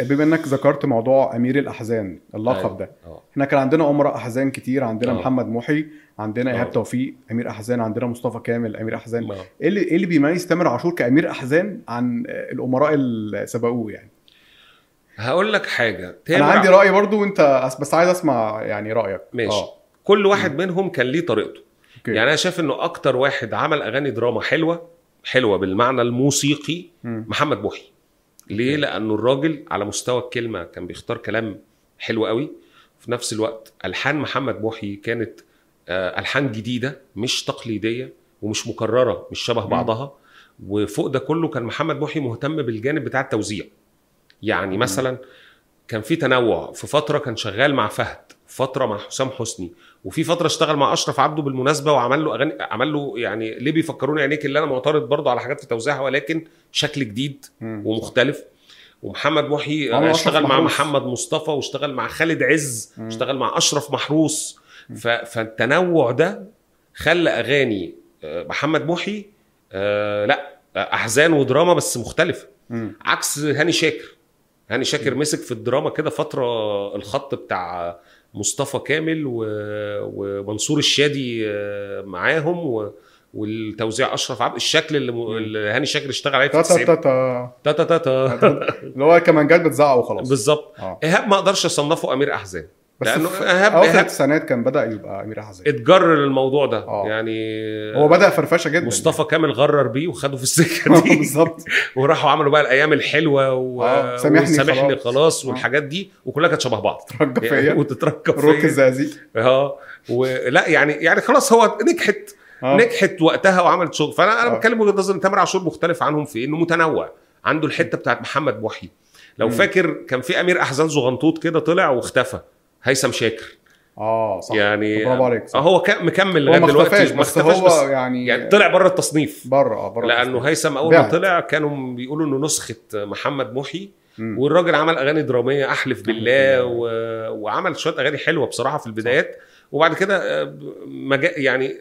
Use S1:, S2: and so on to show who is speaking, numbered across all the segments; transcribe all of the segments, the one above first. S1: بما انك ذكرت موضوع امير الاحزان اللقب ده
S2: اه
S1: احنا كان عندنا امراء احزان كتير عندنا
S2: آه.
S1: محمد محي عندنا ايهاب
S2: آه.
S1: توفيق امير احزان عندنا مصطفى كامل امير احزان
S2: ما-
S1: ايه اللي ايه اللي بيميز تامر عاشور كامير احزان عن آه، الامراء اللي سبقوه يعني
S2: هقول لك حاجه
S1: انا
S2: تامر
S1: عندي راي برضو وانت أس- بس عايز اسمع يعني رايك
S2: ماشي
S1: اه
S2: كل واحد منهم كان ليه طريقته
S1: اوكي
S2: يعني انا شايف انه اكتر واحد عمل اغاني دراما حلوه حلوه بالمعنى الموسيقي
S1: مم.
S2: محمد محي ليه لانه الراجل على مستوى الكلمه كان بيختار كلام حلو قوي في نفس الوقت الحان محمد محي كانت آه، الحان جديده مش تقليديه ومش مكرره مش شبه
S1: مم.
S2: بعضها وفوق ده كله كان محمد محي مهتم بالجانب بتاع التوزيع يعني
S1: مم.
S2: مثلا كان في تنوع في فتره كان شغال مع فهد فتره مع حسام حسني وفي فتره اشتغل مع اشرف عبده بالمناسبه وعمل له اغاني عمل له يعني ليه بيفكروني عينيك اللي انا معترض برضه على حاجات في توزيعها ولكن شكل جديد
S1: مم.
S2: ومختلف ومحمد محي
S1: عمل أشرف
S2: اشتغل مع
S1: محروس.
S2: محمد مصطفى واشتغل مع خالد عز
S1: مم.
S2: اشتغل مع اشرف محروس
S1: مم.
S2: ف... فالتنوع ده خلى اغاني آه، محمد محي آه، لا آه، احزان ودراما بس مختلفه
S1: مم.
S2: عكس هاني شاكر هاني شاكر مسك في الدراما كده فتره الخط بتاع مصطفى كامل و... ومنصور الشادي آه، معاهم و... والتوزيع اشرف عبد الشكل اللي, م...
S1: مم.
S2: اللي هاني شاكر اشتغل عليه في
S1: تا تا تا
S2: التسعينات
S1: تا.
S2: تا تا تا تا.
S1: اللي هو كمانجات بتزعق وخلاص
S2: بالظبط
S1: اه
S2: ايهاب ما اقدرش اصنفه امير احزان
S1: بس
S2: لأنه
S1: في
S2: إيهاب-
S1: اواخر
S2: إيهاب-
S1: التسعينات كان بدا يبقى امير احزان
S2: اتجر للموضوع ده
S1: آه.
S2: يعني
S1: هو بدا فرفشه جدا
S2: مصطفى كامل غرر بيه وخده في السكه
S1: يعني.
S2: دي
S1: بالظبط
S2: وراحوا عملوا بقى الايام الحلوه و...
S1: آه، سامحني
S2: وسامحني
S1: خلاص.
S2: خلاص والحاجات دي وكلها كانت شبه بعض يعني
S1: رجع فيا
S2: وتتركب
S1: روك
S2: فيا
S1: الزقازيق
S2: اه ولا يعني يعني خلاص هو نجحت
S1: آه.
S2: نجحت وقتها وعملت شغل فانا انا
S1: آه.
S2: بتكلم وجهه نظري إن تامر عاشور مختلف عنهم في انه متنوع عنده الحته بتاعت محمد محي لو
S1: مم.
S2: فاكر كان في امير احزان زغنطوط كده طلع واختفى هيثم شاكر
S1: اه صح
S2: يعني
S1: برافو عليك
S2: اه
S1: صح.
S2: هو كان مكمل
S1: هو
S2: لغايه
S1: ما اختفاش بس,
S2: دلوقتي
S1: هو
S2: بس
S1: يعني,
S2: يعني طلع بره التصنيف
S1: بره اه بره
S2: لانه
S1: التصنيف.
S2: هيثم اول ما
S1: بعد.
S2: طلع كانوا بيقولوا انه نسخه محمد محي
S1: مم.
S2: والراجل عمل اغاني دراميه احلف بالله
S1: بالله.
S2: و... وعمل شويه اغاني حلوه بصراحه في البدايات وبعد كده آه، ب- مجا... يعني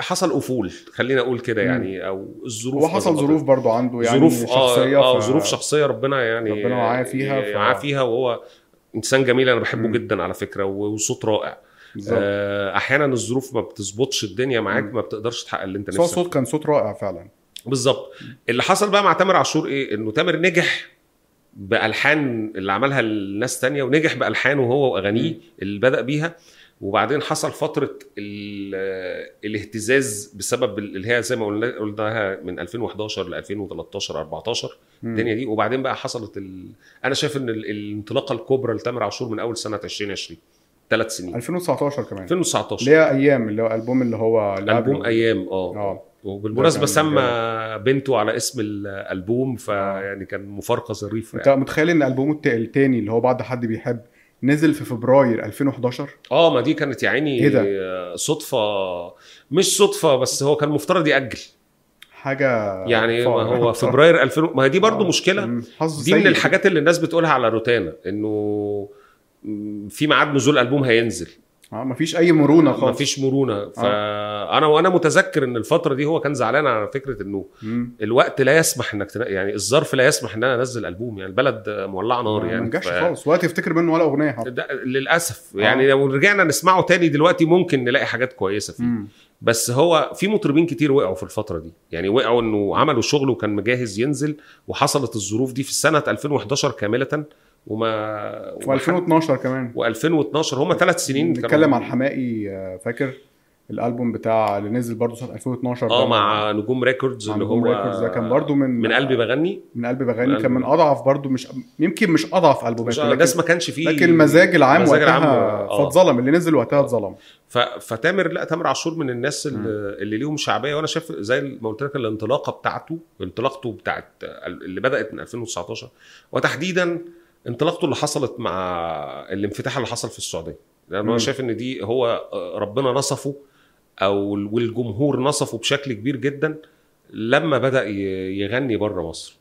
S2: حصل افول خلينا اقول كده
S1: مم.
S2: يعني او الظروف
S1: هو
S2: ما
S1: حصل
S2: ظبطتش.
S1: ظروف برضو عنده يعني
S2: ظروف
S1: شخصيه
S2: اه, آه
S1: ف-
S2: ظروف شخصيه ربنا يعني
S1: ربنا معاه فيها ف-
S2: ف... معاه فيها وهو انسان جميل انا بحبه
S1: مم.
S2: جدا على فكره و- وصوت رائع
S1: بالظبط
S2: آه، احيانا الظروف ما بتظبطش الدنيا معاك
S1: مم.
S2: ما بتقدرش تحقق اللي انت
S1: بس هو
S2: نفسك
S1: صوت كان صوت رائع فعلا
S2: بالظبط اللي حصل بقى مع تامر عاشور ايه انه تامر نجح بالحان اللي عملها الناس تانية ونجح بالحانه هو واغانيه اللي بدا بيها وبعدين حصل فتره ال- آه، الاهتزاز بسبب ال- اللي هي زي ما قلنا- قلناها من 2011 ل 2013 14
S1: مم.
S2: الدنيا دي وبعدين بقى حصلت ال... انا شايف ان ال- الانطلاقه الكبرى لتامر عاشور من اول سنه 2020 ثلاث سنين
S1: 2019 كمان
S2: 2019
S1: اللي هي ايام اللي هو البوم اللي هو اللي
S2: البوم
S1: قبله.
S2: ايام اه
S1: اه ده
S2: وبالمناسبه
S1: كان
S2: سمى بنته على اسم الالبوم فيعني كان مفارقه ظريفه
S1: انت
S2: يعني.
S1: متخيل ان البومه الت- التاني اللي هو بعد حد بيحب نزل في فبراير 2011
S2: اه ما دي كانت يا عيني
S1: إيه
S2: صدفه مش صدفه بس هو كان مفترض ياجل
S1: حاجه
S2: يعني ما
S1: فقر.
S2: هو فبراير 2000 ما هي دي برضو
S1: آه.
S2: مشكله
S1: مم. حظه
S2: دي من
S1: سيء.
S2: الحاجات اللي الناس بتقولها على روتانا انه م، في ميعاد نزول البوم هينزل
S1: اه مفيش اي مرونه خالص آه.
S2: مفيش مرونه فانا وانا متذكر ان الفتره دي هو كان زعلان على فكره انه
S1: مم.
S2: الوقت لا يسمح انك تنا... يعني الظرف لا يسمح ان انا انزل البوم يعني البلد مولعه نار
S1: ما
S2: يعني
S1: نجحش
S2: ف-
S1: خالص آه. ولا تفتكر منه ولا اغنيه حتى
S2: ده للاسف يعني لو رجعنا نسمعه تاني دلوقتي ممكن نلاقي حاجات كويسه فيه
S1: مم.
S2: بس هو في مطربين كتير وقعوا في الفتره دي يعني وقعوا انه عملوا شغل وكان مجهز ينزل وحصلت الظروف دي في السنه 2011 كامله وما
S1: و2012 كمان
S2: و2012 هم ثلاث سنين كانوا-
S1: بنتكلم عن حماقي آه، فاكر الالبوم بتاع اللي نزل برضه سنه 2012
S2: اه
S1: ده
S2: مع نجوم ريكوردز
S1: مع
S2: اللي
S1: نجوم
S2: هو
S1: ريكوردز ده كان برضه من
S2: من قلبي بغني
S1: من قلبي بغني
S2: من
S1: كان من
S2: قلبي.
S1: اضعف برضه مش يمكن مش اضعف البومات
S2: مش-
S1: لكن,
S2: الناس ما كانش فيه
S1: لكن المزاج العام
S2: المزاج العام،
S1: وقتها
S2: آه.
S1: فاتظلم اللي نزل وقتها اتظلم
S2: ف- فتامر لا تامر عاشور من الناس اللي, اللي ليهم شعبيه وانا شايف زي ما قلت لك الانطلاقه بتاعته انطلاقته بتاعت اللي بدات من 2019 وتحديدا انطلاقته اللي حصلت مع الانفتاح اللي حصل في السعوديه لان
S1: مم.
S2: انا شايف ان دي هو آه، ربنا نصفه او والجمهور نصفه بشكل كبير جدا لما بدا ي- يغني بره مصر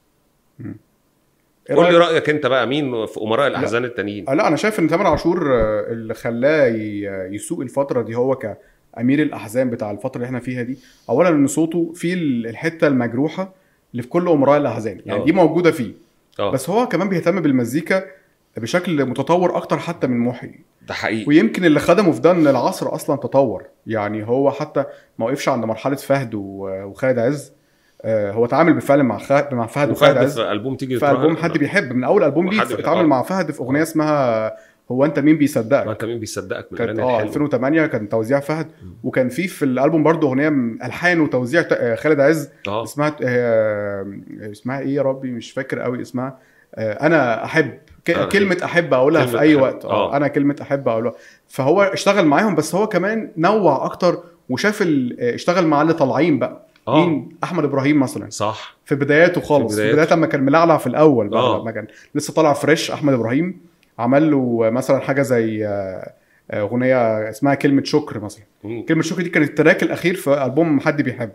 S1: إيه
S2: قول
S1: رأيك؟
S2: لي رايك انت بقى مين في امراء الاحزان التانيين
S1: آه، لا انا شايف ان تامر عاشور آه، اللي خلاه ي- يسوق الفتره دي هو كامير الاحزان بتاع الفتره اللي احنا فيها دي اولا ان صوته في ال- الحته المجروحه اللي في كل امراء الاحزان يعني
S2: آه.
S1: دي موجوده فيه
S2: اه
S1: بس هو كمان بيهتم بالمزيكا بشكل متطور اكتر حتى من محيي
S2: ده حقيقي
S1: ويمكن اللي خدمه في ده ان العصر اصلا تطور يعني هو حتى ما وقفش عند مرحله فهد و- وخالد عز آه، هو اتعامل بالفعل مع خ... مع فهد وخالد
S2: وفهد
S1: عز
S2: في البوم تيجي آه.
S1: في
S2: تراهن.
S1: البوم حد بيحب من اول البوم ليه
S2: حد بيحب.
S1: اتعامل
S2: آه.
S1: مع فهد في اغنيه اسمها هو انت مين
S2: ما
S1: بيصدقك
S2: انت مين بيصدقك من
S1: كانت
S2: الاغاني
S1: اه
S2: الحلوه
S1: 2008 كان توزيع فهد
S2: مم.
S1: وكان في في الالبوم برضه اغنيه من الحان وتوزيع ت- آه، خالد عز
S2: اه
S1: اسمها آه، اسمها ايه يا ربي مش فاكر قوي اسمها آه، انا احب ك-
S2: أنا أحب.
S1: كلمه احب اقولها
S2: كلمة
S1: في اي
S2: أحب.
S1: وقت
S2: آه.
S1: اه انا كلمه احب اقولها فهو اشتغل معاهم بس هو كمان نوع اكتر وشاف ال- آه، اشتغل مع اللي طالعين بقى
S2: اه
S1: مين احمد ابراهيم مثلا
S2: صح
S1: في بداياته خالص في
S2: بداياته.
S1: بدايته لما كان ملعلع في الاول بقى
S2: آه.
S1: لما كان لسه طالع فريش احمد ابراهيم عمل له مثلا حاجه زي آه، آه، اغنيه اسمها كلمه شكر مثلا
S2: مم.
S1: كلمه شكر دي كانت التراك الاخير في البوم حد بيحب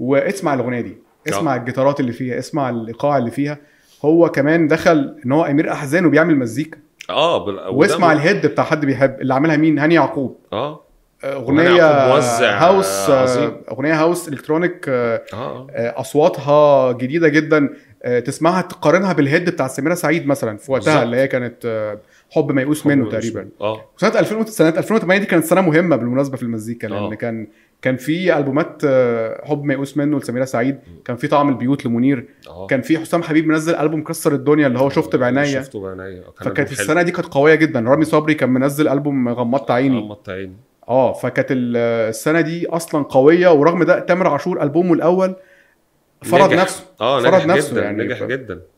S1: واسمع الاغنيه دي
S2: آه.
S1: اسمع الجيتارات اللي فيها اسمع الايقاع اللي فيها هو كمان دخل ان هو امير احزان وبيعمل مزيكا
S2: اه بال... وده
S1: واسمع
S2: م-
S1: الهيد بتاع حد بيحب اللي عاملها مين هاني يعقوب
S2: اه هاني
S1: اغنيه
S2: يعقوب موزع
S1: هاوس آه،
S2: عظيم.
S1: اغنيه هاوس الكترونيك آه،
S2: اه آه.
S1: آه، اصواتها جديده جدا آه، تسمعها تقارنها بالهيد بتاع سميره سعيد مثلا في وقتها
S2: بالظبط.
S1: اللي هي كانت آه، حب ما يئوس منه تقريبا
S2: اه
S1: سنه 2000 سنه 2008 دي كانت سنه مهمه بالمناسبه في المزيكا لان
S2: آه.
S1: كان كان في البومات آه، حب ما يئوس منه لسميره سعيد كان في طعم البيوت لمنير
S2: اه
S1: كان في حسام حبيب منزل البوم كسر الدنيا اللي هو شفت بعينيا
S2: شفته بعينيا آه، كان
S1: فكانت
S2: ألبوم حلو.
S1: السنه دي كانت قويه جدا رامي صبري كان منزل البوم غمضت عيني
S2: غمضت آه، عيني
S1: اه فكانت ال- السنه دي اصلا قويه ورغم ده تامر عاشور البومه الاول فرض
S2: نجح.
S1: نفسه
S2: اه
S1: فرض
S2: نجح
S1: نفسه
S2: جدا
S1: يعني.
S2: نجح جدا